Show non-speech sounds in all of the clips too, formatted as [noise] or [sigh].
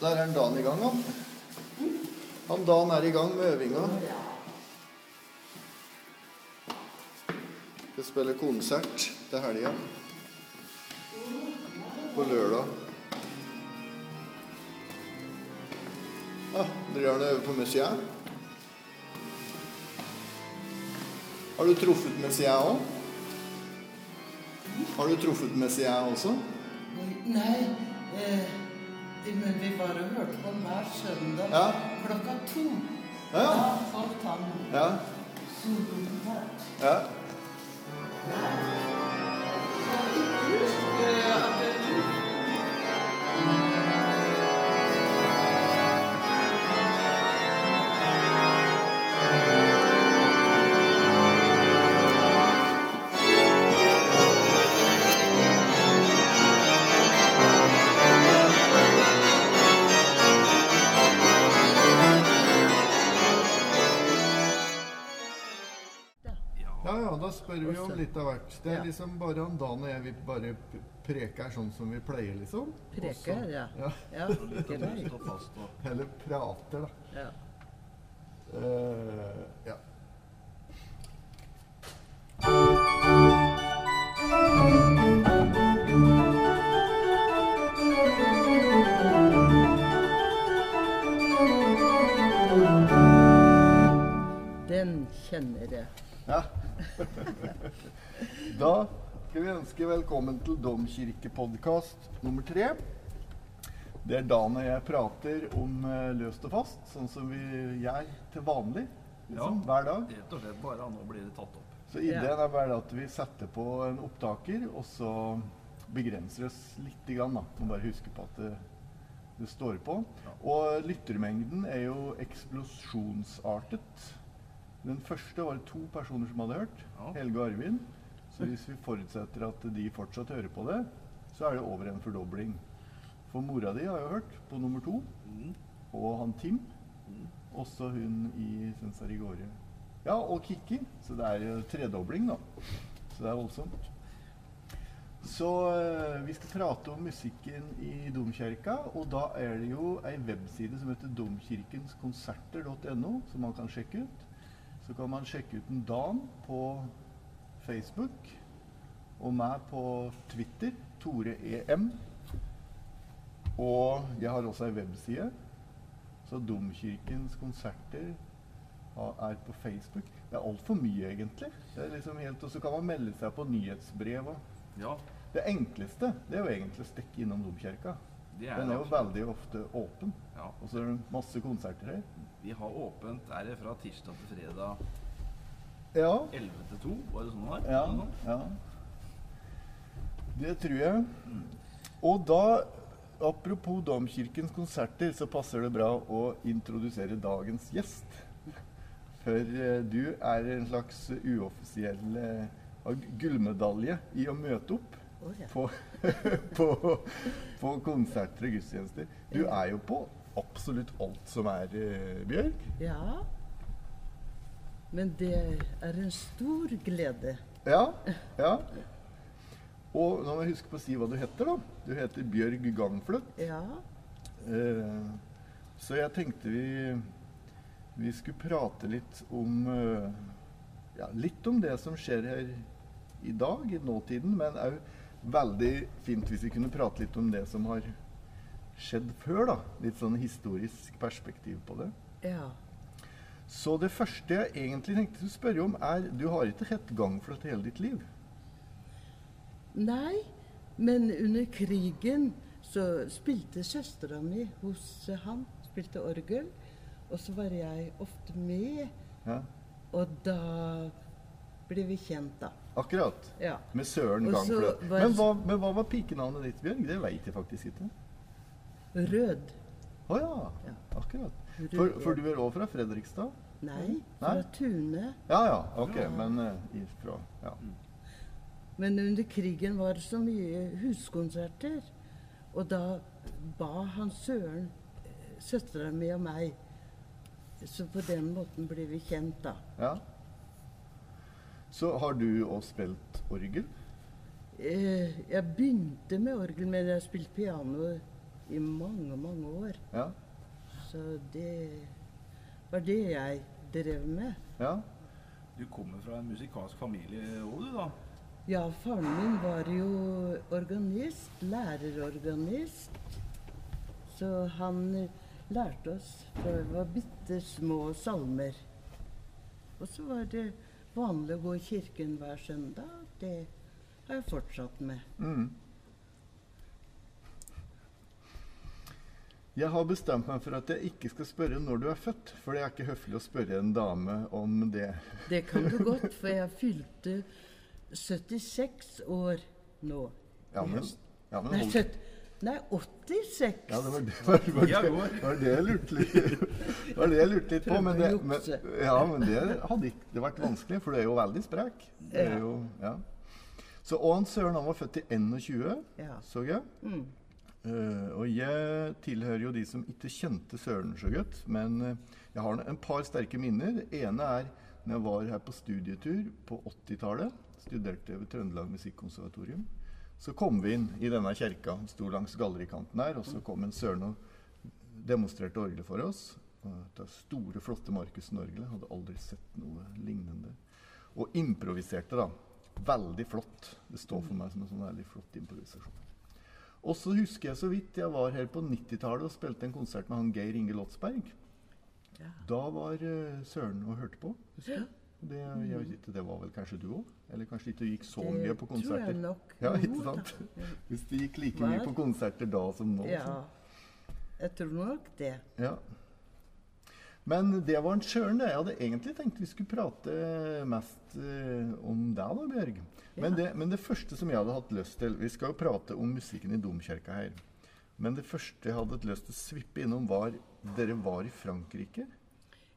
Der er Dan i gang, han. Han Dan er i gang med øvinga. Skal spille konsert til helga. På lørdag. Ja, Ah, driver han og øver på Messiaen? Har du truffet Messiaen òg? Har du truffet Messiaen også? Nei, eh, men vi bare hørte på den hver søndag Ja. klokka to. Ja, ja. Da falt han Ja. solbart. ja. Ja, ja, da spør vi om litt av hvert. Det er liksom bare han Dan og jeg vi bare p- preker sånn som vi pleier, liksom. Preker, ja. Ja. Ja, ikke det. Stå fast og Eller prater, da. Ja. Eh, ja. Den kjenner jeg. ja. [laughs] Da skal vi ønske velkommen til Domkirkepodkast nummer tre. Det er Dan og jeg prater om eh, løst og fast, sånn som vi gjør til vanlig. Liksom, Ja. Hver dag. rett og slett bare nå blir det tatt opp. Så ideen er bare at vi setter på en opptaker, og så begrenser det oss litt. Grann, da. Må bare huske på at det, det står på. Og lyttermengden er jo eksplosjonsartet. Den første var det to personer som hadde hørt. Ja. Helge og Arvin. Så hvis vi forutsetter at de fortsatt hører på det, så er det over en fordobling. For mora di har jo hørt på nummer to, Mm. og han Tim. Også hun i Sensarigore. Ja, og Kikki. Så det er jo tredobling, da. Så det er voldsomt. Så eh, vi skal prate om musikken i domkirka, og da er det jo ei webside som heter domkirkenskonserter.no, som man kan sjekke ut. Så kan man sjekke ut en Dan på Facebook, og meg på Twitter, Tore EM. Og jeg har også ei webside. Så Domkirkens konserter ha- er på Facebook. Det er altfor mye, egentlig. Det er liksom helt, Og så kan man melde seg på nyhetsbrev og Ja, Det enkleste det er jo egentlig å stikke innom domkirka. det er Den er jo det. veldig ofte åpen. Ja, Og så er det masse konserter her. vi har åpent er det fra tirsdag til fredag Ja. 11 til 2, var det sånn det var? Ja. Eller noe? ja. Det tror jeg. Og da, apropos Domkirkens konserter, så passer det bra å introdusere dagens gjest. For eh, du er en slags uoffisiell eh, har gullmedalje i å møte opp Å, ja. på, [laughs] på, på konserter og gudstjenester. Du er jo på absolutt alt som er, eh, Bjørg. ja. Men det er en stor glede. Ja, ja. Og nå må jeg huske på å si hva du heter, da. Du heter Bjørg Gangfløt. Ja. Eh, så jeg tenkte vi, vi skulle prate litt om eh, ja, Litt om det som skjer her i dag, i nåtiden, men òg veldig fint hvis vi kunne prate litt om det som har skjedd før, da. Litt sånn historisk perspektiv på det. Ja. Så det første jeg egentlig tenkte å spørre om, er Du har ikke hett Gangfløt hele ditt liv? Nei, men under krigen så spilte søstera mi hos han, spilte orgel. Og så var jeg ofte med, Ja, og da ble vi kjent, da. akkurat. Ja. Med Søren Og så Gangflø. var- Men, hva- men hva var pikenavnet ditt, Bjørg? Det veit jeg faktisk ikke. Rød. Å ja, Ja. akkurat. Rød. For, for du er òg fra Fredrikstad? Nei, Nei? fra Tune. Ja ja, ok. Men eh, ifra Ja. Mm. Men under krigen var det så mye huskonserter. Og da ba han Søren søstera mi og meg. Så på den måten ble vi kjent, da. ja. Så har du òg spilt orgel? Eh, Jeg begynte med orgel, men jeg har spilt piano i mange, mange år. Ja. Så det var det jeg drev med. ja. Du kommer fra en musikalsk familie òg, du, da? Ja, faren min var jo organist, lærerorganist. Så han eh, lærte oss fra vi var bitte små salmer. Og så var det vanlig å gå i kirken hver søndag. Det har jeg fortsatt med. Mm. Jeg har bestemt meg for at jeg ikke skal spørre når du er født, for det er ikke høflig å spørre en dame om det. Det kan du godt, for jeg fylte 76 år nå. Ja, men, ja, men Nei, hold- søt- Nei 86! Ja, det var det, var, var, Ja, det, jo. var det jeg lurte litt, var det jeg lurte litt på. Men det, Prøvde å men, jukse. ja, men det hadde ikke vært vanskelig, for du er jo veldig sprek. Det er Ja. jo, ja. Så og han Søren han var født i 21, Ja. så jeg. Mm. Eh, og jeg tilhører jo de som ikke kjente Søren så godt, men eh, jeg har en par sterke minner. Det ene er når jeg var her på studietur på 80-tallet. Studerte ved Trøndelag Musikkonservatorium. Så kom vi inn i denne kjerka, sto langs gallerikanten her, og så kom en Søren og demonstrerte orgelet for oss. Og Det store, flotte Markussen-orgelet. Hadde aldri sett noe lignende. Og improviserte, da. Veldig flott. Det står for meg som en sånn veldig flott improvisasjon. Og så husker jeg så vidt jeg var her på 90-tallet og spilte en konsert med han Geir Inge Lotsberg. Ja. Da var eh, Søren og hørte på. Ja, Det, jeg vet ikke, det var vel kanskje du òg? Eller kanskje ikke du gikk så Det mye på tror jeg konserter? nok. Ja, Jo ikke da. sant? Hvis det gikk like mye Hva? på konserter da som nå. Ja. så- Jeg tror nok det. Ja. Men det var en Søren, det. Jeg hadde egentlig tenkt vi skulle prate mest eh, om deg, da, Bjørg. Men, Ja. det, men det første som jeg hadde hatt lyst til Vi skal jo prate om musikken i domkirka her. Men det første jeg hadde hatt lyst til å svippe innom, var Dere var i Frankrike?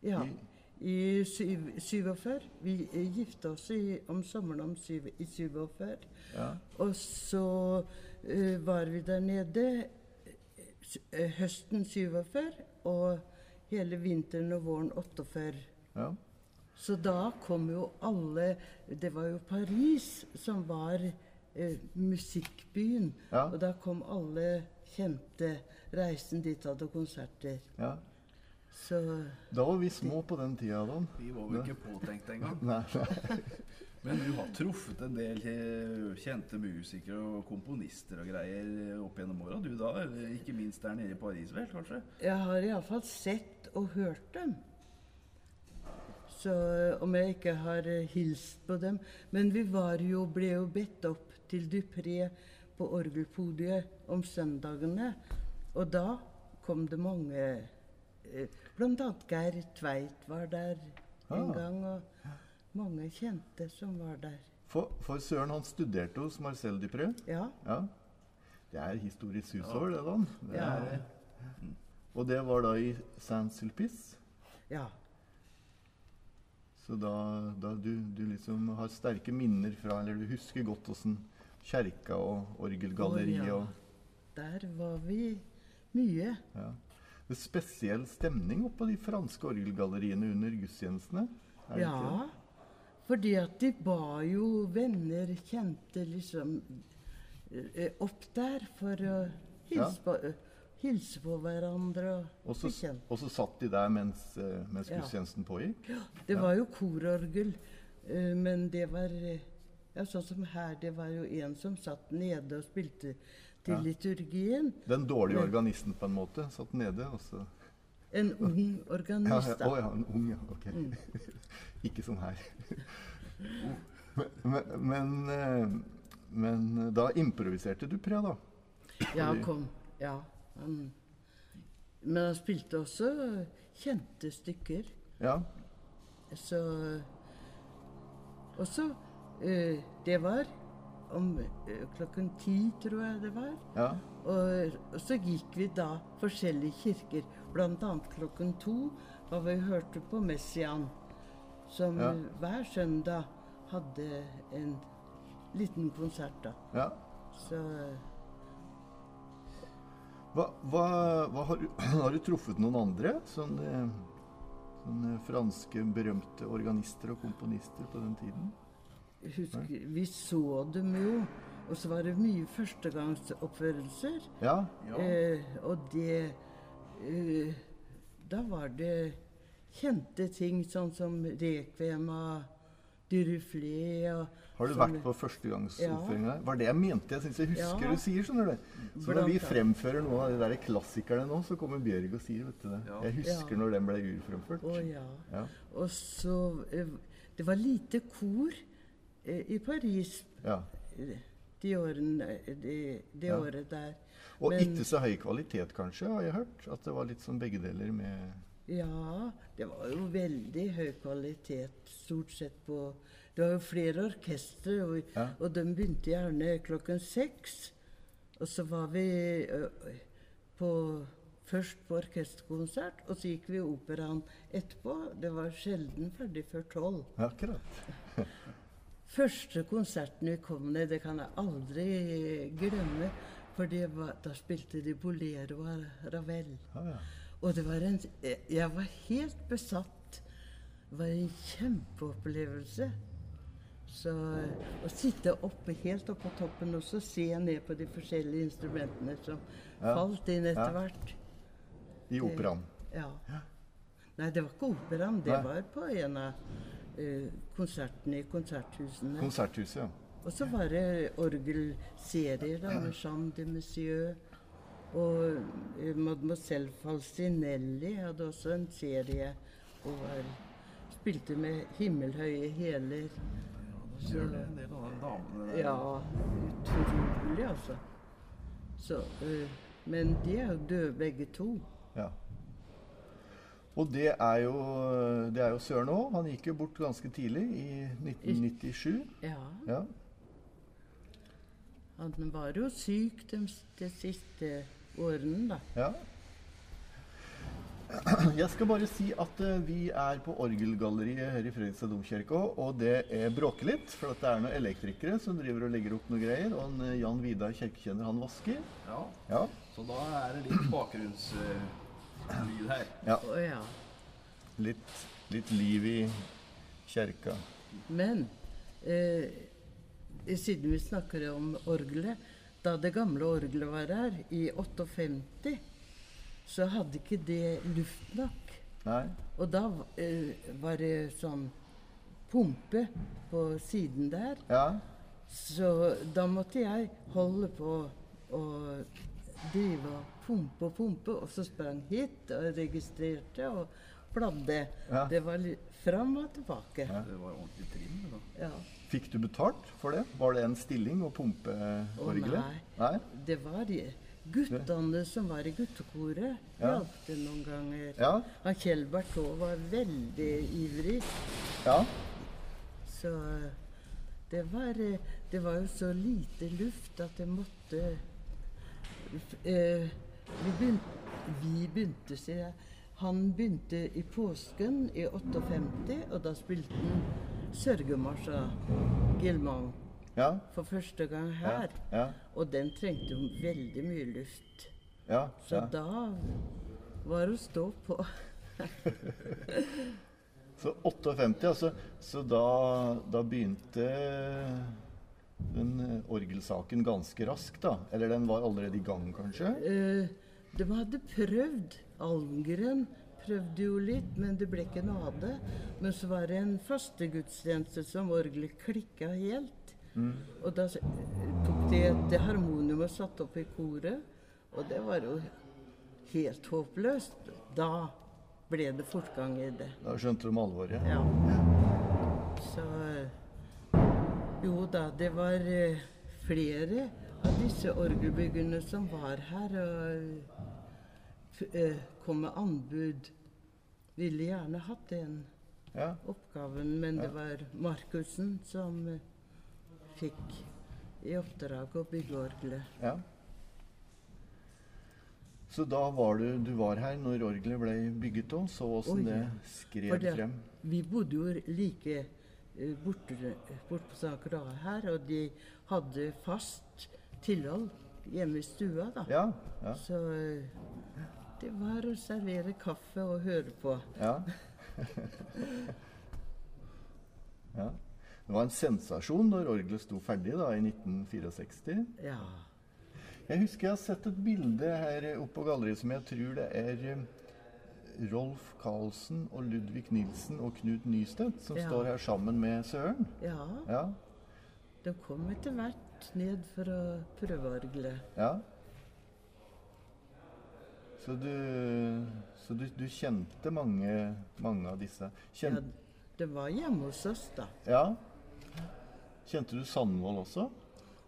Ja. I- I syv- 47. Vi eh, gifta oss i, om sommeren om syv, i 47. Ja. Og så eh, var vi der nede eh, s- eh, høsten 47 og hele vinteren og våren 48. ja. Så da kom jo alle Det var jo Paris som var eh, musikkbyen. Ja. Og da kom alle kjente reisen dit hadde konserter. ja. Så Da var vi små på den tida, Adam. Vi var vel ikke påtenkt engang. [laughs] Nei, nei. Men du har truffet en del eh, kjente musikere og komponister og greier opp gjennom åra, du da? Eller ikke minst der nede i Paris, vel, kanskje? jeg har iallfall sett og hørt dem. Så eh, om jeg ikke har eh, hilst på dem Men vi var jo, ble jo bedt opp til Dupré på orgelpodiet om søndagene. Og da kom det mange eh, Blant annet Geir Tveit var der en Ah. gang. Og mange kjente som var der. For, for Søren, han studerte hos Marcel Dupré. Ja. Ja. Det er historisk hus over, det, Dan. Det Ja. er- eh, Og det var da i Saint-Sulpice. ja. Så da, da du, du liksom har sterke minner fra Eller du husker godt åssen kjerka og orgelgalleriet Å, ja. og Der var vi mye. ja. Det er spesiell stemning oppå de franske orgelgalleriene under gudstjenestene. er det ikke det? Ja, fordi at de ba jo venner, kjente liksom eh, opp der for å hilse, på, eh, hilse på hverandre Og og så bli s- kjent. og så satt de der mens, eh, mens Ja. gudstjenesten pågikk. Det var jo kororgel, eh, men det var eh, ja, sånn som her. Det var jo en som satt nede og spilte til Ja. liturgien. Den dårlige Ja. organisten på en måte satt nede. og så... En ung Ja, organist, ja, å da. ja, en ung, ja. Ok. Mm. [laughs] Ikke sånn her. Men, men, eh, men da improviserte du, Pre, da? Ja, kom. Ja, han. Men han spilte også kjente stykker. Ja. Så Og så eh, Det var om eh, klokken ti, tror jeg det var. ja. Og, og så gikk vi da forskjellige kirker, bl.a. klokken to, da vi hørte på Messian, som Ja. hver søndag hadde en liten konsert, da. ja. Så Hva, hva, hva har, du, [clears throat] har du truffet noen andre? Sånn, Sånne, sånne eh, franske berømte organister og komponister på den tiden? husk, vi så dem jo Og så var det mye førstegangsoppførelser. Ja. Eh, og det eh, Da var det kjente ting, sånn som rekviem og duruflé og Har du vært på førstegangsoppføringa der? Var det jeg mente? Jeg syns jeg husker Ja. du sier, skjønner du. Så når Blant vi annet. fremfører noen av de der klassikerne nå, så kommer Bjørg og sier, vet du det. Ja. Jeg husker Ja. når den ble urfremført. Å ja. Ja. Og så eh, Det var lite kor eh, i Paris ja. eh, de årene, eh, de, det Ja. året der. Og Men- ikke så høy kvalitet, kanskje, har jeg hørt. At det var litt sånn begge deler med Ja, det var jo veldig høy kvalitet stort sett på Det var jo flere orkestre, og, Ja. og de begynte gjerne klokken seks. Og så var vi ø, ø, på, først på orkesterkonsert, og så gikk vi i operaen etterpå. Det var sjelden ferdig før tolv. Ja, Akkurat. Første konserten vi kom ned, det kan jeg aldri glemme. For det var, da spilte de Bolero av Ravel. Ja, ja. Og det var en Jeg var helt besatt. Det var en kjempeopplevelse. Så å sitte oppe, helt oppe på toppen og så se ned på de forskjellige instrumentene som Ja. falt inn Ja. etter hvert. I operaen. Ja. Nei, det var ikke operaen. Det Nei. var på en av eh, konsertene i konserthusene. Konserthuset, ja. Og så var det orgelserier da, med Jean de Monsieur. Og eh, Mademoiselle Falsinelli hadde også en serie og var, spilte med himmelhøye hæler. Så gjør det en del av de damene der. Ja, utrolig, altså. Så, eh, men de er jo døde begge to. ja. Og det er jo, det er jo Søren òg. Han gikk jo bort ganske tidlig, i 1997. Ja, Ja. Han var jo syk de, s- de siste årene, da. Ja. Jeg skal bare si at eh, vi er på orgelgalleriet her i Fredrikstad domkirke, også, og det er bråker litt, for at det er noen elektrikere som driver og legger opp noe greier, og en, eh, Jan Vidar kirkekjenner, han vasker. Ja, Ja. Så da er det litt bakgrunnslyd her. Å ja. Litt, litt liv i kjerka. Men eh, siden vi snakker om orgelet Da det gamle orgelet var her, i 58, så hadde ikke det luft nok. Nei. Og da eh, var det sånn pumpe på siden der. Ja. Så da måtte jeg holde på å drive og pumpe og pumpe, og så sprang hit og registrerte og bladde. Ja. Det var li- fram og tilbake. Ja. Det var ordentlig trim. det da. Ja. Fikk du betalt for det? Var det en stilling å pumpe eh, Å, orgelet? Nei. Det var de- guttene som var i guttekoret. Ja. Hjalp det noen ganger. Ja. Han Kjell Bartot var veldig ivrig. Ja. Så eh, det var, eh, det var jo så lite luft at det måtte f- eh, vi, begynte, vi begynte, sier jeg. Han begynte i påsken i 58, og da spilte han sørgemarsj av Gilmang Ja. for første gang Ja. her. Ja. Og den trengte jo veldig mye luft. Ja. Så ja. da var å stå på. Så 58, altså. Så da, da begynte eh, den eh, orgelsaken ganske raskt, da. Eller den var allerede i gang, kanskje? Eh, de hadde prøvd. Almgren prøvde jo litt, men det ble ikke noe av det. Men så var det en fastegudstjeneste som orgelet klikka helt. Og da s- tok de et harmonium og satte opp i koret. Og det var jo helt håpløst. Da ble det fortgang i det. Da skjønte de alvoret. Ja. Så eh, Jo da, det var eh, flere av disse orgelbyggerne som var her og f- eh, kom med anbud. Ville gjerne hatt den Ja. oppgaven, men det var Markussen som eh, fikk i oppdrag å bygge orgelet. ja. Så da var du, du var her når orgelet ble bygget òg, så åssen Å, ja. det skred For det- frem. Vi bodde jo like eh, borte, borte på Sankt Rae her, og de hadde fast tilhold hjemme i stua, da. Ja, ja, Så eh, det var å servere kaffe og høre på. [laughs] ja. ja. Det var en sensasjon når orgelet sto ferdig da, i 1964. Ja. Jeg husker jeg har sett et bilde her oppe på galleriet som jeg tror det er eh, Rolf Karlsen og Ludvig Nilsen og Knut Nystedt som Ja. står her sammen med Søren. ja. Ja, De kom etter hvert ned for å prøveorgle. ja. Så du, så du, du kjente mange, mange av disse. Ja, Kjente, de var hjemme hos oss, da. ja. Kjente du Sandvold også?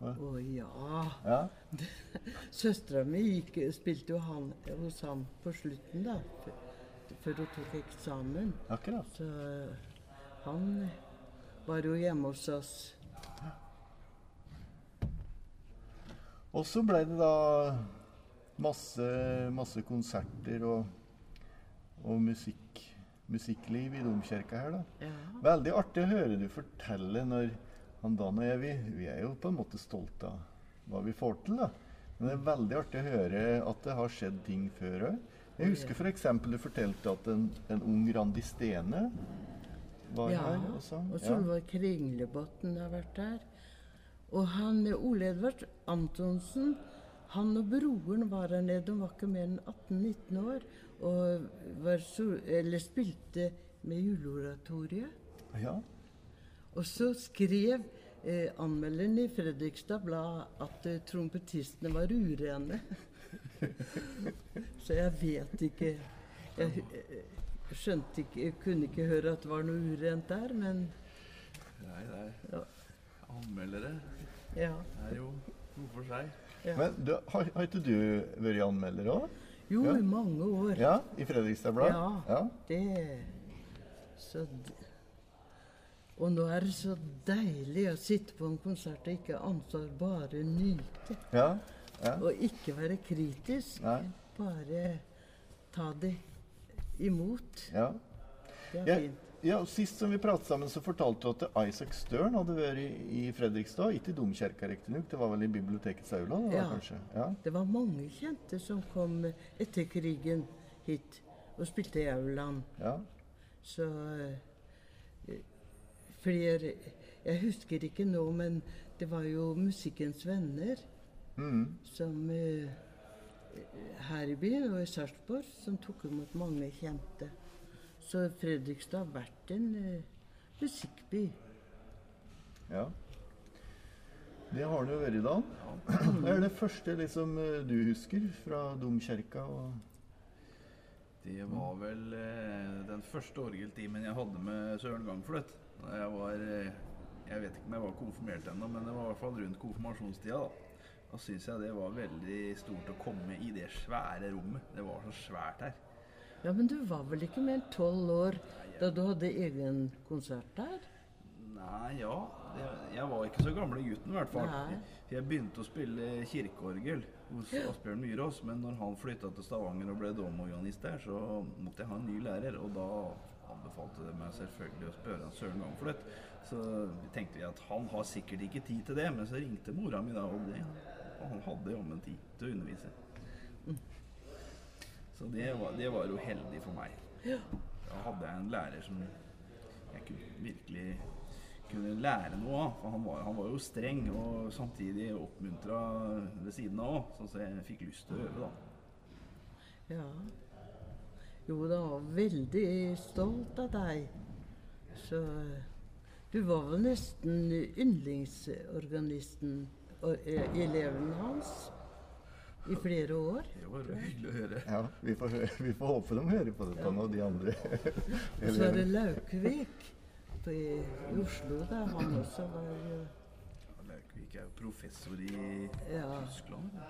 Å ja. Ja. Søstera mi gikk, spilte jo han, hos han på slutten, da. f- Før hun tok eksamen. Akkurat. Så eh, han var jo hjemme hos oss. Og så ble det da masse, masse konserter og, og musikk, musikkliv i domkirka her, da. Ja. Veldig artig å høre du fortelle når han Dan og jeg vi, vi er jo på en måte stolte av hva vi får til, da. Men det er veldig artig å høre at det har skjedd ting før òg. Jeg husker f.eks. du fortalte at en, en ung Randi Stene var ja. her og sang. Og Ja. Solveig Kringlebotn har vært der. Og han eh, Ole Edvard Antonsen, han og broren var her nede. De var ikke mer enn 18-19 år. Og var sol, eller spilte med juleoratoriet. ja. Og så skrev eh, anmelderen i Fredrikstad Blad at eh, trompetistene var urene. [laughs] så jeg vet ikke Jeg hu- eh, skjønte ikke jeg Kunne ikke høre at det var noe urent der, men Nei, det Ja. er anmeldere. ja. Det er jo noe for seg. ja. Men du, har, har ikke du vært anmelder òg? Jo, Ja. i mange år. Ja, i Fredrikstad Blad? Ja. ja. Det Så d- Og nå er det så deilig å sitte på en konsert og ikke ha ansvar, bare nyte. Ja. ja. Og ikke være kritisk. Nei. Bare ta det imot. ja. Det er Ja. fint. ja og sist som vi pratet sammen, så fortalte du at Isaac Stern hadde vært i, i Fredrikstad. Ikke i domkirka, riktignok. Det var vel i bibliotekets aula? Det var, Ja. kanskje. Ja. Det var mange kjente som kom etter krigen hit og spilte i aulaen. ja. Så eh, flere Jeg husker ikke nå, men det var jo Musikkens Venner Mhm. som eh, her i byen og i Sarpsborg som tok imot mange kjente. Så Fredrikstad har vært en eh, musikkby. ja. Det har det jo vært, Dan. [clears throat] Det er det første liksom, du husker fra domkirka? Og... Det var vel eh, den første orgeltimen jeg hadde med Søren Gangfløt. Da jeg var eh, Jeg vet ikke om jeg var konfirmert ennå, men det var i hvert fall rundt konfirmasjonstida. Da Da syns jeg det var veldig stort å komme i det svære rommet. Det var så svært her. Ja, men du var vel ikke mer enn tolv år da du hadde egen konsert der? Nei, ja Jeg, jeg var ikke så gamle gutten, i hvert fall. Nei. For jeg begynte å spille kirkeorgel hos Asbjørn Myrås, men når han flytta til Stavanger og ble domorganist der, så måtte jeg ha en ny lærer, og da anbefalte det meg selvfølgelig å spørre han Søren Gangfløt. Så tenkte vi at han har sikkert ikke tid til det, men så ringte mora mi da om det, og han hadde jammen tid til å undervise. Mm. Så det var, det var jo heldig for meg. Da hadde jeg en lærer som jeg kunne virkelig kunne lære noe av. For han var, han var jo streng og samtidig oppmuntra ved siden av òg, sånn at jeg fikk lyst til å øve, da. Ja. Jo, da var jeg veldig stolt av deg. Så eh, du var vel nesten yndlingsorganisten og eh, eleven hans i flere år. Det var hyggelig å høre. Ja, vi får, høre, vi får håpe de hører på dette nå, de [laughs] andre. Og så er det Laukvik på, eh, i Oslo, da han også var jo Laukvik er jo professor i Ja. Tyskland.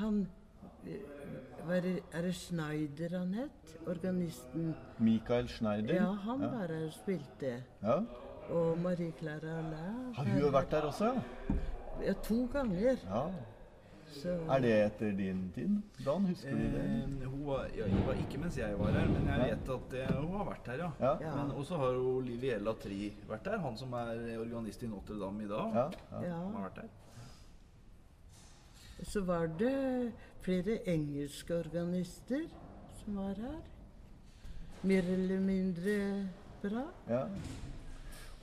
Han eh, var, det- Er det Schneider han het? Organisten? Mikael Schneider. Ja, han var her og spilte. Ja. Og Marie Claire Alain. Har hun vært der også? ja? Ja, to ganger. Ja. Så Er det etter din tid? Dan, husker du det? Eh, hun var, ja, hun var ikke mens jeg var her, men jeg vet at eh, hun har vært her, ja. Ja. Ja. Men også har jo Liviella Tri vært der, han som er organist i Notre-Dame i dag. Ja, ja. Han ja. har vært der. Så var det flere engelske organister som var her. Mer eller mindre bra. ja.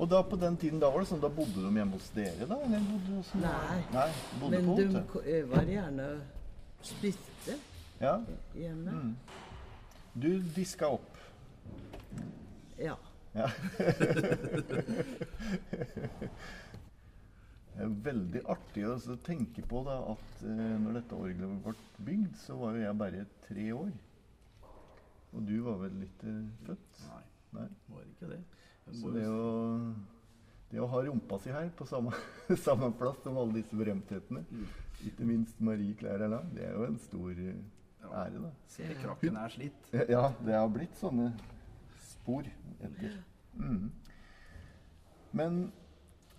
Og da på den tiden da var det sånn, da bodde de hjemme hos dere, da? Eller bodde hos Nei. Nei, bodde Men på de hotell. ko- eh, var gjerne splitte Ja. hjemme. Mm. Du diska opp. Ja. Ja. Det er veldig artig å så tenke på da, at eh, når dette orgelet ble bygd, så var jo jeg bare tre år. Og du var vel litt eh, født? Nei, Nei. var ikke det. Jeg Så må det jo å, det å ha rumpa si her på samme, [laughs] samme plass som alle disse berømthetene, Mm. ikke minst Marie Claire Erland, det er jo en stor eh, Ja. ære, da. Se, krakken er slitt. Ja, det har blitt sånne spor etter. Mm. Men,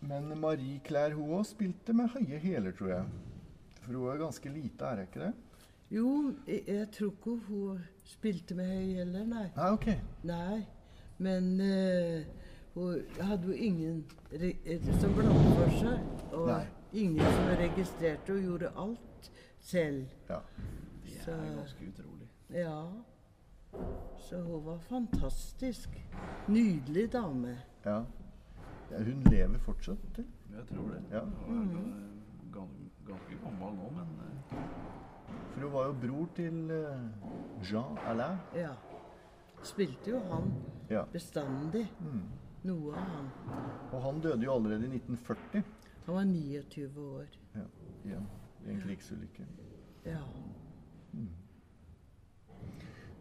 men Marie Claire hun også spilte med høye hæler, tror jeg. For hun er ganske lite, er hun ikke det? Jo, jeg, jeg tror ikke hun spilte med høy heller, nei. Nei, ok. Nei, men eh, hun hadde jo ingen re- eh, som blandet for seg. Og Nei. ingen som registrerte og gjorde alt selv. Ja. Det Så- er ganske utrolig. Ja. Så hun var fantastisk. Nydelig dame. ja. Ja, Hun lever fortsatt, til. Jeg tror det. Ja. Hun er ga- gan- ganske gammel nå, men eh, For hun var jo bror til eh, Jean Alain. Ja. Spilte jo han Ja. bestandig. Noe av han. Og han døde jo allerede i 1940 Han var 29 år. ja. i, en, i en krigsulykke. Ja.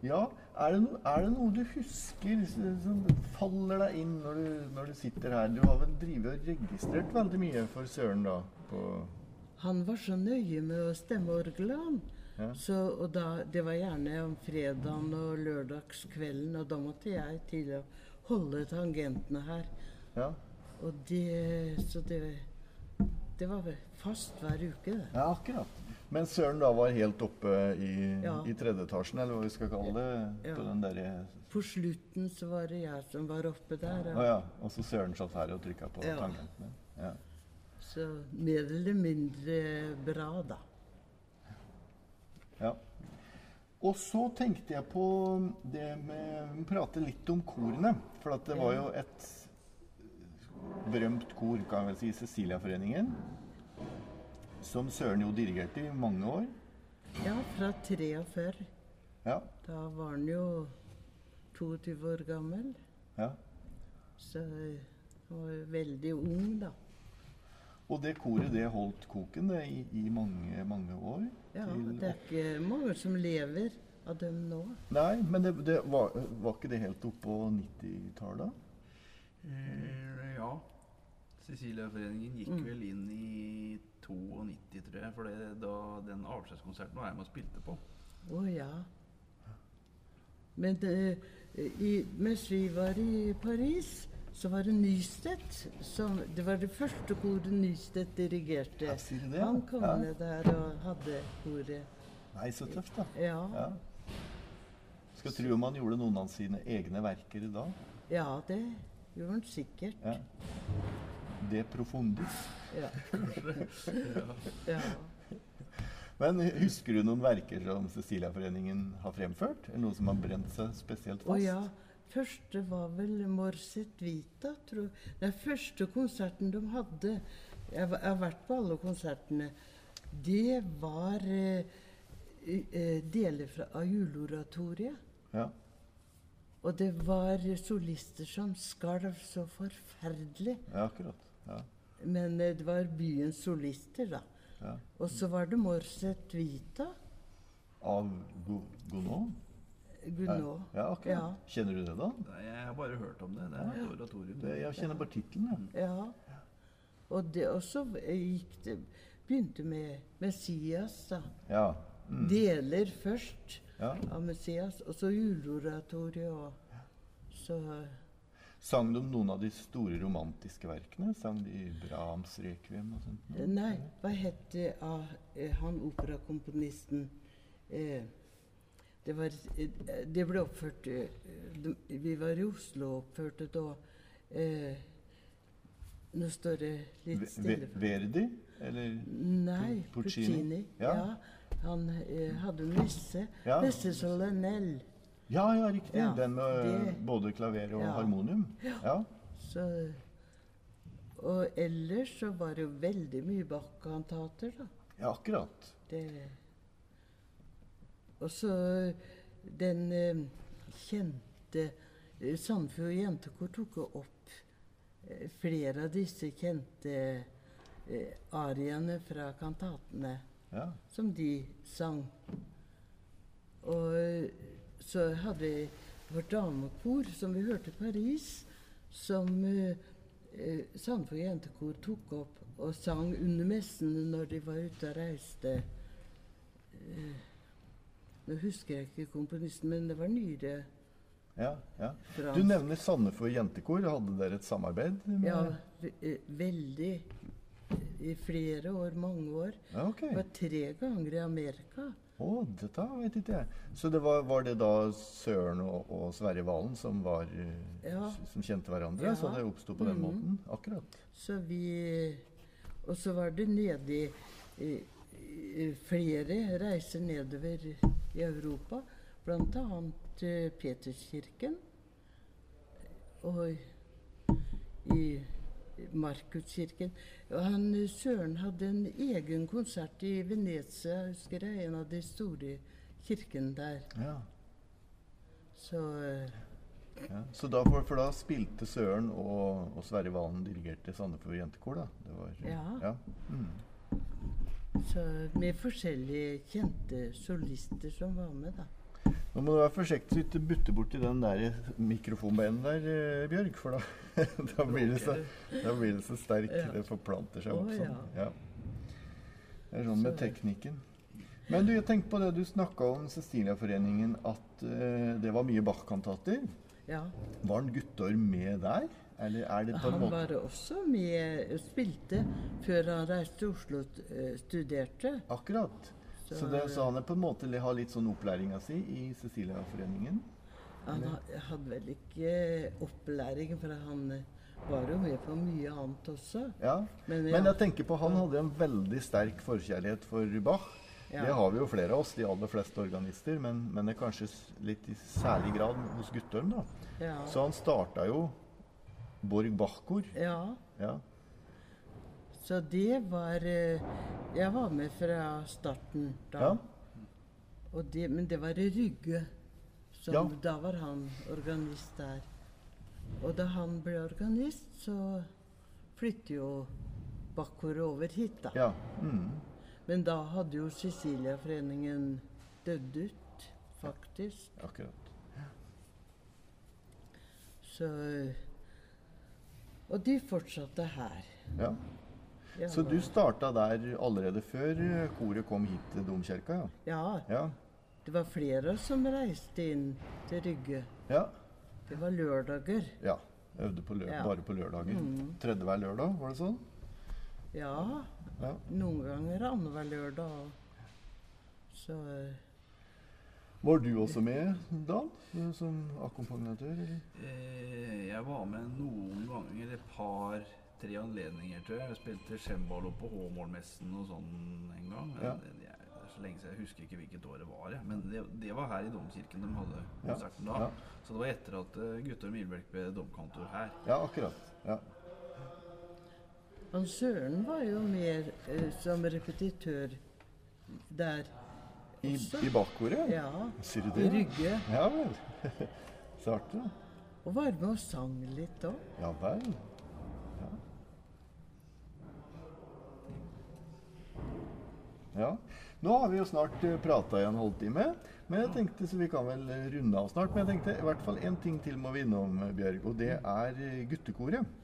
Ja, er det, no, er det noe du husker s- som faller deg inn når du, når du sitter her? Du har vel drevet og registrert veldig mye for Søren, da? På, Han var så nøye med å stemme orgelet, han. Ja. Så, og da, det var gjerne om fredagen og lørdagskvelden, og da måtte jeg til å holde tangentene her. ja. Og det Så det Det var vel fast hver uke, det. ja, akkurat. Men Søren da var helt oppe i, Ja. i tredje etasjen, eller hva vi skal kalle det? Ja. På den derre På slutten så var det jeg som var oppe der. Å Ja. ja. Og så Søren satt her og trykka på Ja. tangentene. Ja. Så mer eller mindre bra, da. Ja. Og så tenkte jeg på det med å prate litt om korene. For at det var jo et berømt kor, kan jeg vel si, Ceciliaforeningen. Som Søren jo dirigerte i mange år. Ja, fra 43. Ja. Da var han jo 22 år gammel. ja. Så han var jo veldig ung, da. Og det koret, det holdt koken det i, i mange, mange år. Ja, til- det er ikke mange som lever av dem nå. Nei, men det, det var, var ikke det helt oppå 90-tallet? eh, ja. Cecilieforeningen gikk vel inn i 92, tror jeg, for det, da den avskjedskonserten var jeg med og spilte på. Å ja. Men eh, i, mens vi var i Paris, så var det Nystedt som Det var det første koret Nystedt dirigerte. Ja, sier du det, ja? Han kom Ja. ned der og hadde koret. Nei, så tøft, da. Ja. Ja. Skal tro om han gjorde noen av sine egne verker da. ja, det gjorde han sikkert. Ja. Det profundis. [laughs] Ja. Ja. ja. Men husker du noen verker som Ceciliaforeningen har fremført? Eller noe som har brent seg spesielt Å fast? ja. Første var vel Morset Vita, tror jeg. Den første konserten de hadde Jeg var- jeg har vært på alle konsertene. Det var eh, i- eh, deler fra, av juleoratoriet. Ja. Og det var solister som skalv så forferdelig. ja, akkurat. Ja. Men eh, det var byens solister, da. Ja. Og så var det Morset Vita. Av Go- Gounod? Gunnaud. Ja, akkurat. Ja. Kjenner du det, da? Nei, Jeg har bare hørt om det. Det er et oratorium. Det, jeg kjenner bare tittelen, jeg. Ja. Og det også gikk det Begynte med Messias, da. Ja. Deler først ja. av Messias, og så juleoratoriet og Så Sang de noen av de store romantiske verkene? Sang de Brahms Requiem og sånt? noe? eh, Nei, hva het det av eh, han operakomponisten eh, Det var eh, Det ble oppført eh, de, Vi var i Oslo og oppførte da eh, Nå står det litt Ve- stille. Ve- Verdi? Eller Nei, Pu- Puccini. Puccini. Ja. Ja. Han eh, hadde messe. Ja. Messe Solanell. Ja, ja, riktig. Ja, Den med det- både klaver og Ja. harmonium. Ja. Så Og ellers så var det jo veldig mye Bach-kantater, da. Ja, akkurat. Det Og så den eh, kjente eh, Sandefjord Jentekor tok jo opp eh, flere av disse kjente eh, ariene fra kantatene Ja. som de sang. Og eh, så hadde vi vårt damekor, som vi hørte i Paris, som eh, eh, Sandefjord Jentekor tok opp og sang under messene når de var ute og reiste. Eh, Nå husker jeg ikke komponisten, men det var nyere. ja, ja. Fra- Du nevner Sandefjord jentekor. Hadde dere et samarbeid? med- Ja, ve- eh, veldig. I flere år, mange år. ja ok. Det var tre ganger i Amerika. Å, dette vet ikke jeg. Så det var, var det da Søren og, og Sverre Valen som, var, eh, Ja. s- som kjente hverandre? Ja. Så det oppsto på den Mhm. måten? Akkurat. Så vi Og så var det nedi eh, eh, Flere reiser nedover i Europa, bl.a. Peterskirken. Og i Markuskirken. Og han eh, Søren hadde en egen konsert i Venezia, husker jeg. En av de store kirkene der. Ja. Så eh, Ja. Så da, for, for da spilte Søren og, og Sverre Valen dirigerte Sandefjord Jentekor, da? Det var, Ja. Mm. så med forskjellige kjente solister som var med, da. Nå må du være forsiktig så du ikke butter borti den der mikrofonbeinen der, eh, Bjørg. For da, [laughs] da, blir det så, da blir det så sterk. Ja. Det forplanter seg Å, opp sånn. ja. Ja. Det er sånn med Så- teknikken. Men du, jeg tenkte på det du snakka om Ceciliaforeningen, at eh, det var mye Bach-kantater. Ja. Var han Guttorm med der? Eller er det på en Han måte var også med spilte før han reiste til Oslo og eh, studerte. Akkurat. Så, det, så han er på en måte li- har litt sånn opplæringa si i Ceciliaforeningen. Han ha- hadde vel ikke eh, opplæring, for han eh, var jo med på mye annet også. Ja. Men, Men jeg tenker på han hadde en veldig sterk forkjærlighet for Bach. Ja. Det har vi jo flere av oss, de aller fleste organister, men, men det er kanskje s- litt i særlig grad hos Guttorm, da. ja, Så han starta jo Borg Bach-kor. ja, Ja. så det var eh, Jeg var med fra starten da. Ja. Og det, men det var i Rygge. Som, Ja. Da var han organist der. Og da han ble organist, så flyttet jo Bakkoret over hit, da. ja. Mm. Men da hadde jo Siciliaforeningen dødd ut, faktisk. Akkurat. Så Og de fortsatte her. Ja. Ja, Så du starta der allerede før eh, koret kom hit til domkirka, ja? Ja. Ja. Det var flere som reiste inn til Rygge. ja. Det var lørdager. ja. Øvde på lø Ja. bare på lørdager. Mm. Tredje hver lørdag, var det sånn? Ja. Ja. Noen ganger annenhver lørdag òg. Så Var du også med, Dan, eh, som akkompagnatør? eller? Eh, Jeg var med noen ganger, et par, tre anledninger, tror jeg. Jeg spilte cembalo på Håmålmessen og sånn en gang. Men Ja. det- det er det er så lenge siden, Jeg husker ikke hvilket år det var, jeg. men det, det var her i domkirken de hadde Ja. konserten da. Ja. Så det var etter at eh, Guttorm Ilbekk ble domkantor her. Ja, akkurat. Ja. Han Søren var jo mer eh, som repetitør der. I, Også. i bakkoret? Ja. Sier du I det? Rygge. Ja vel. [laughs] Så artig, da. Og var med og sang litt òg. Ja vel. Ja. ja. Nå har vi jo snart prata i en halvtime, men jeg tenkte, så vi kan vel eh, runde av snart. Men jeg tenkte i hvert fall én ting til må vi innom, eh, Bjørg, og det er eh, guttekoret.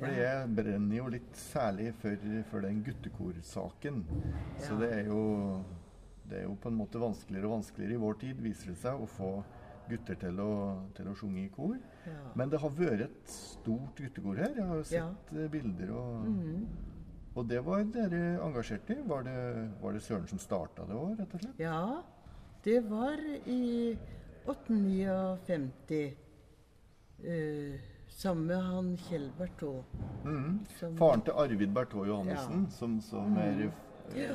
For jeg brenner jo litt særlig for, for den guttekorsaken. Så Ja. det er jo det er jo på en måte vanskeligere og vanskeligere i vår tid, viser det seg, å få gutter til å, til å synge i kor. Ja. Men det har vært et stort guttekor her. Jeg har jo Ja. sett eh, bilder og Mhm. Og det var dere engasjert i. Var det, var det Søren som starta det òg, rett og slett? Ja, det var i 1859. eh, sammen med han Kjell Bertaux. Mhm. som- Faren til Arvid Bertaux Johannessen, Ja. som, som er eh, Ja.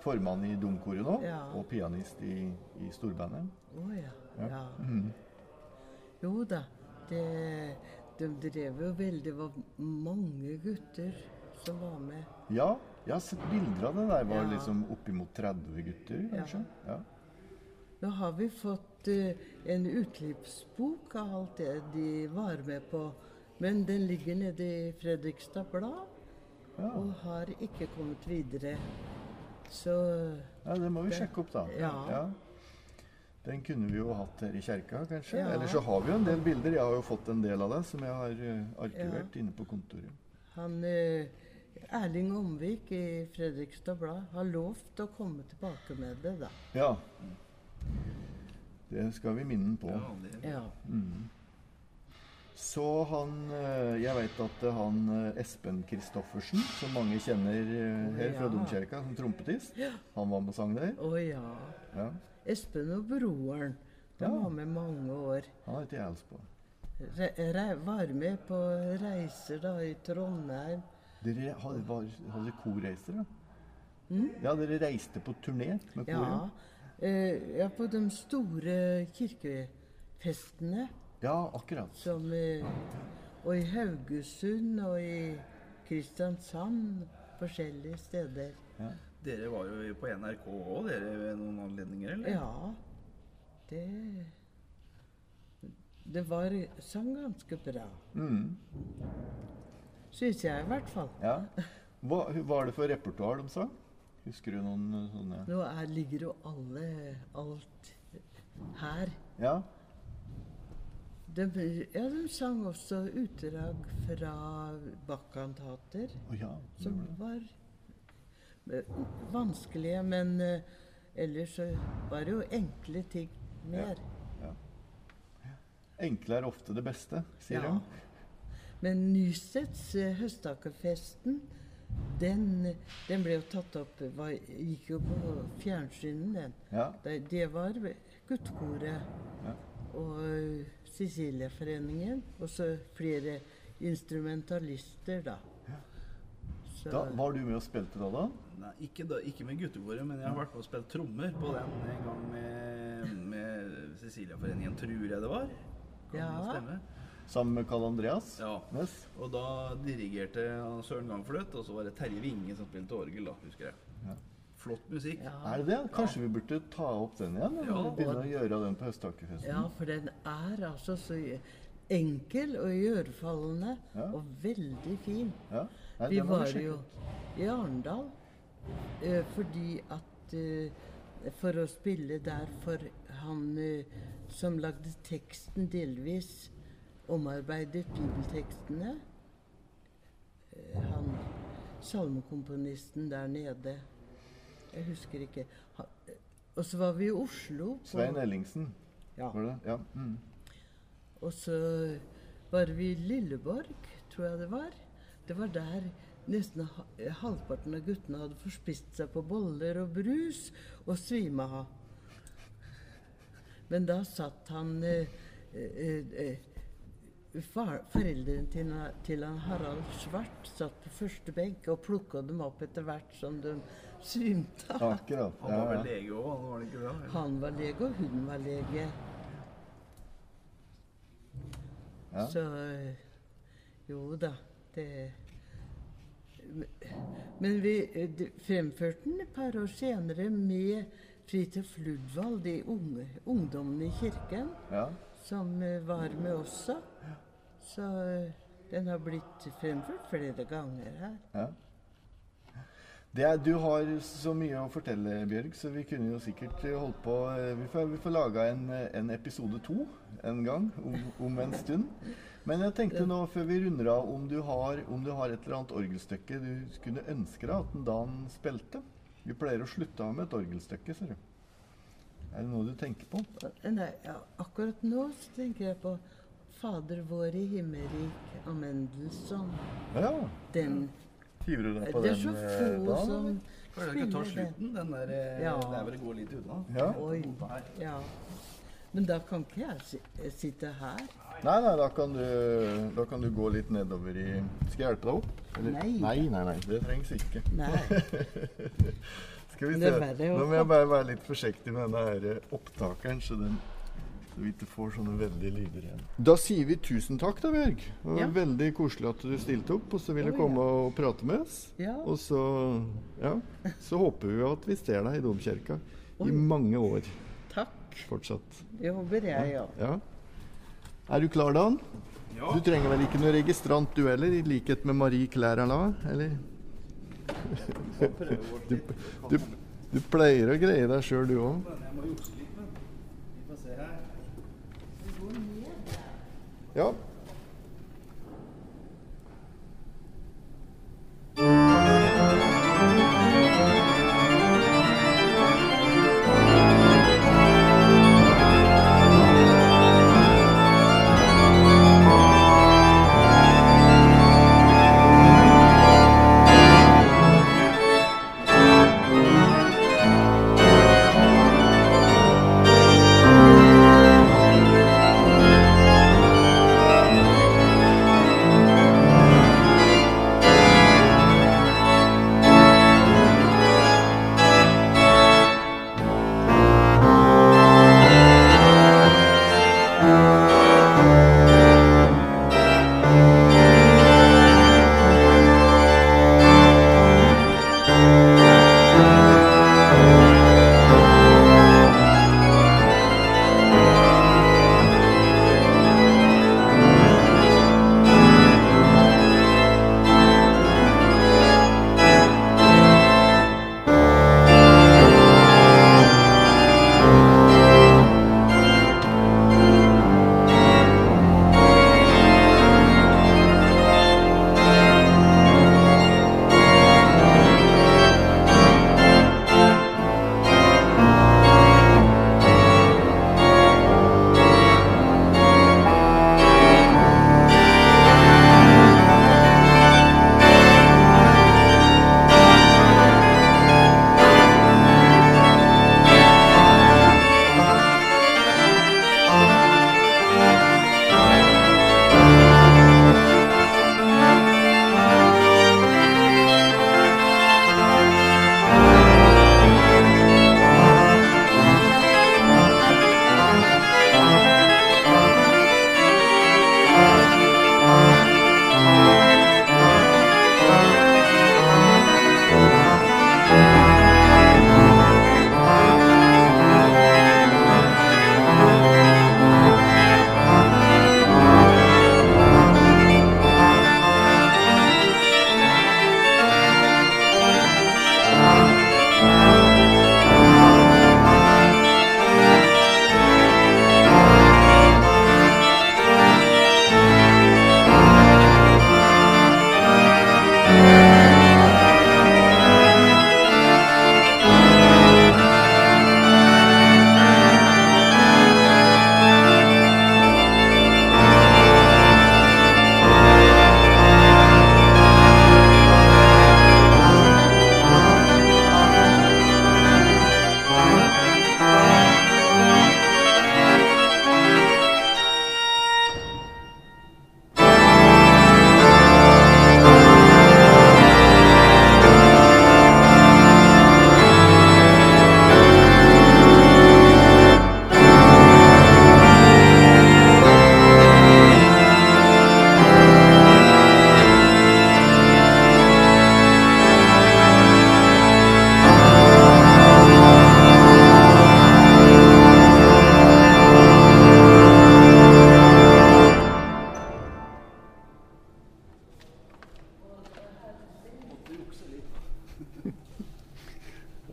formann i Domkoret nå, Ja. og pianist i, i storbandet. Å ja. Mhm. Ja. ja. Mhm. Jo da. Det, De drev jo veldig Det var mange gutter som var med. Ja, jeg har sett bilder av det der. Var Ja. liksom oppimot 30 gutter, kanskje. Ja. Nå har vi fått eh, en utklippsbok av alt det de var med på. Men den ligger nede i Fredrikstad Blad Ja. og har ikke kommet videre. Så ja, det må vi sjekke opp, da. Ja. Den kunne vi jo hatt her i kjerka, kanskje. Ja. Eller så har vi jo en del bilder. Jeg har jo fått en del av det som jeg har eh, arkivert Ja. inne på kontoret. han eh, Erling Omvik i Fredrikstad Blad har lovt å komme tilbake med det, da. Ja. Det skal vi minne han på. Ja, det, Ja. Så han eh, Jeg vet at eh, han eh, Espen Kristoffersen, som mange kjenner eh, her fra Ja. domkirka, som trompetist, han var med og sang der. Å ja. Ja. Espen og broren. De Ja. var med mange år. Han heter jeg altså på. Re re var med på reiser da i Trondheim. Dere hadde, var, hadde korreiser, ja? Hm? Ja, dere reiste på turné med koret? Ja. Eh, ja, på de store kirkefestene ja, akkurat. som eh, Og i Haugesund og i Kristiansand. Forskjellige steder. Ja. dere var jo på NRK òg, dere, ved noen anledninger, eller? Ja. Det Det var sang ganske bra. Mm, Syns jeg, i hvert fall. ja. Hva var det for repertoar de sang? Husker du noen eh, sånne Nå er, ligger jo alle alt her. Ja? De, ja, de sang også utdrag fra Bach-kantater, Å ja. de som gjorde det. var eh, vanskelige, men eh, ellers så var det jo enkle ting mer. Enkle er ofte det beste, sier Ja. de. Men Nysets eh, Høstakerfesten, den, den ble jo tatt opp var, Gikk jo på fjernsynet, den. Ja. Det, det var guttekoret Ja. og Sicilieforeningen. Og så flere instrumentalister, da. Så, Da, var du med og spilte da, da? Nei, ikke, da, ikke med guttekoret, men jeg har vært med og spilt trommer på den en gang med, med Ceciliaforeningen, tror jeg det var. Kan Ja. det stemme? Sammen med Karl Andreas? Ja. Yes. Og da dirigerte Søren Gangfløt, og så var det Terje Winge som spilte orgel, da, husker jeg. Ja. Flott musikk. Ja. Er det det? Kanskje vi burde ta opp den igjen? Eller Ja. begynne å gjøre den på Høstakerfesten? ja, for den er altså så enkel og iørefallende. Ja. Og veldig fin. Ja. Nei, Vi den må var sjekke jo ut. i Arendal eh, fordi at eh, For å spille der for han eh, som lagde teksten delvis, omarbeidet bibeltekstene. Eh, han salmekomponisten der nede. Jeg husker ikke. Ha, eh, og så var vi i Oslo. på- Svein Ellingsen, Ja. var det? Ja. Mm. Og så var vi i Lilleborg, tror jeg det var. Det var der nesten ha- halvparten av guttene hadde forspist seg på boller og brus og svima av. Men da satt han eh, eh, eh, far, Foreldrene til, han- til han Harald Svart satt på første benk og plukka dem opp etter hvert som de svimte av. Akkurat. Han var Ja, vel ja. lege òg, han var det ikke det? Han var lege, og hun var lege. Ja. Så eh, jo da, det Men vi eh, de- fremførte den et par år senere med Fridtjof Ludvald, de unge, ungdommene i kirken, ja. som eh, var med også. Så eh, den har blitt fremført flere ganger her. ja. Det er, du har så mye å fortelle, Bjørg, så vi kunne jo sikkert eh, holdt på eh, Vi får, vi får laga en, eh, en episode to en gang, om, om en stund. Men jeg tenkte nå, før vi runder av, om du har, om du har et eller annet orgelstykke du kunne ønske deg at den Dan spilte? Vi pleier å slutte av med et orgelstykke, ser du. Er det noe du tenker på? Eh, Nei, ja, akkurat nå så tenker jeg på Fader vår i himmelrik av Mendelssohn. Ja. Den Hiver du deg på Det er den? så eh, få Dan, som eller? Klarer jeg ikke å ta spiller den. slutten? Den der, eh, Ja. der hvor det går litt unna. Ja. Oi. Her. Ja. Men da kan ikke jeg si- eh, sitte her. Nei, nei, da kan, du, da kan du gå litt nedover i Skal jeg hjelpe deg opp? Nei. nei, nei, nei. Det trengs ikke. [laughs] Nei. Skal vi Det se. er verre å Nå må jeg bare være litt forsiktig med denne her eh, opptakeren, så den Så vi ikke får sånne veldige lyder igjen. Da sier vi tusen takk, da, Bjørg. Det var Ja. Veldig koselig at du stilte opp og så ville Oi, komme ja. og prate med oss. Ja. Og så, ja, så håper vi at vi ser deg i domkirka Oi. i mange år Takk. fortsatt. Det håper jeg òg. Ja. Er du klar, Dan? Du trenger vel ikke noe registrant du heller, i likhet med Marie Klærala? Eller? Du, du, du pleier å greie deg sjøl, du òg. Men jeg må jukse litt, men. Vi får se her. Ja.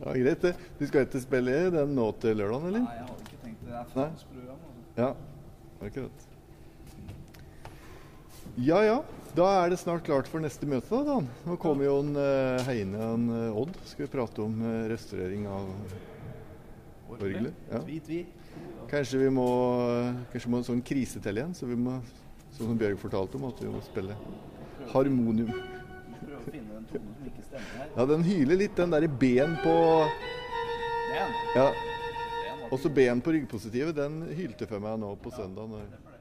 ja, greit det. Du skal ikke spille den nå til lørdag, eller? Nei, jeg hadde ikke tenkt det. Det er Nei. fagsprogram, altså. Ja, akkurat. Ja ja, da er det snart klart for neste møte, da. Dan. Nå kommer jo en eh, Heine og en eh, Odd. Skal vi prate om eh, restaurering av Orgelet, ja. Tvi, tvi. Kanskje vi må Kanskje vi må en sånn krise til igjen, så vi må Sånn som Bjørg fortalte om, at vi må spille harmonium. Må prøve å finne en tone som ikke stemmer her. Ja, den hyler litt, den derre B-en på Den, Ja, den var også B-en på ryggpositivet, den hylte for meg nå på søndag. Når,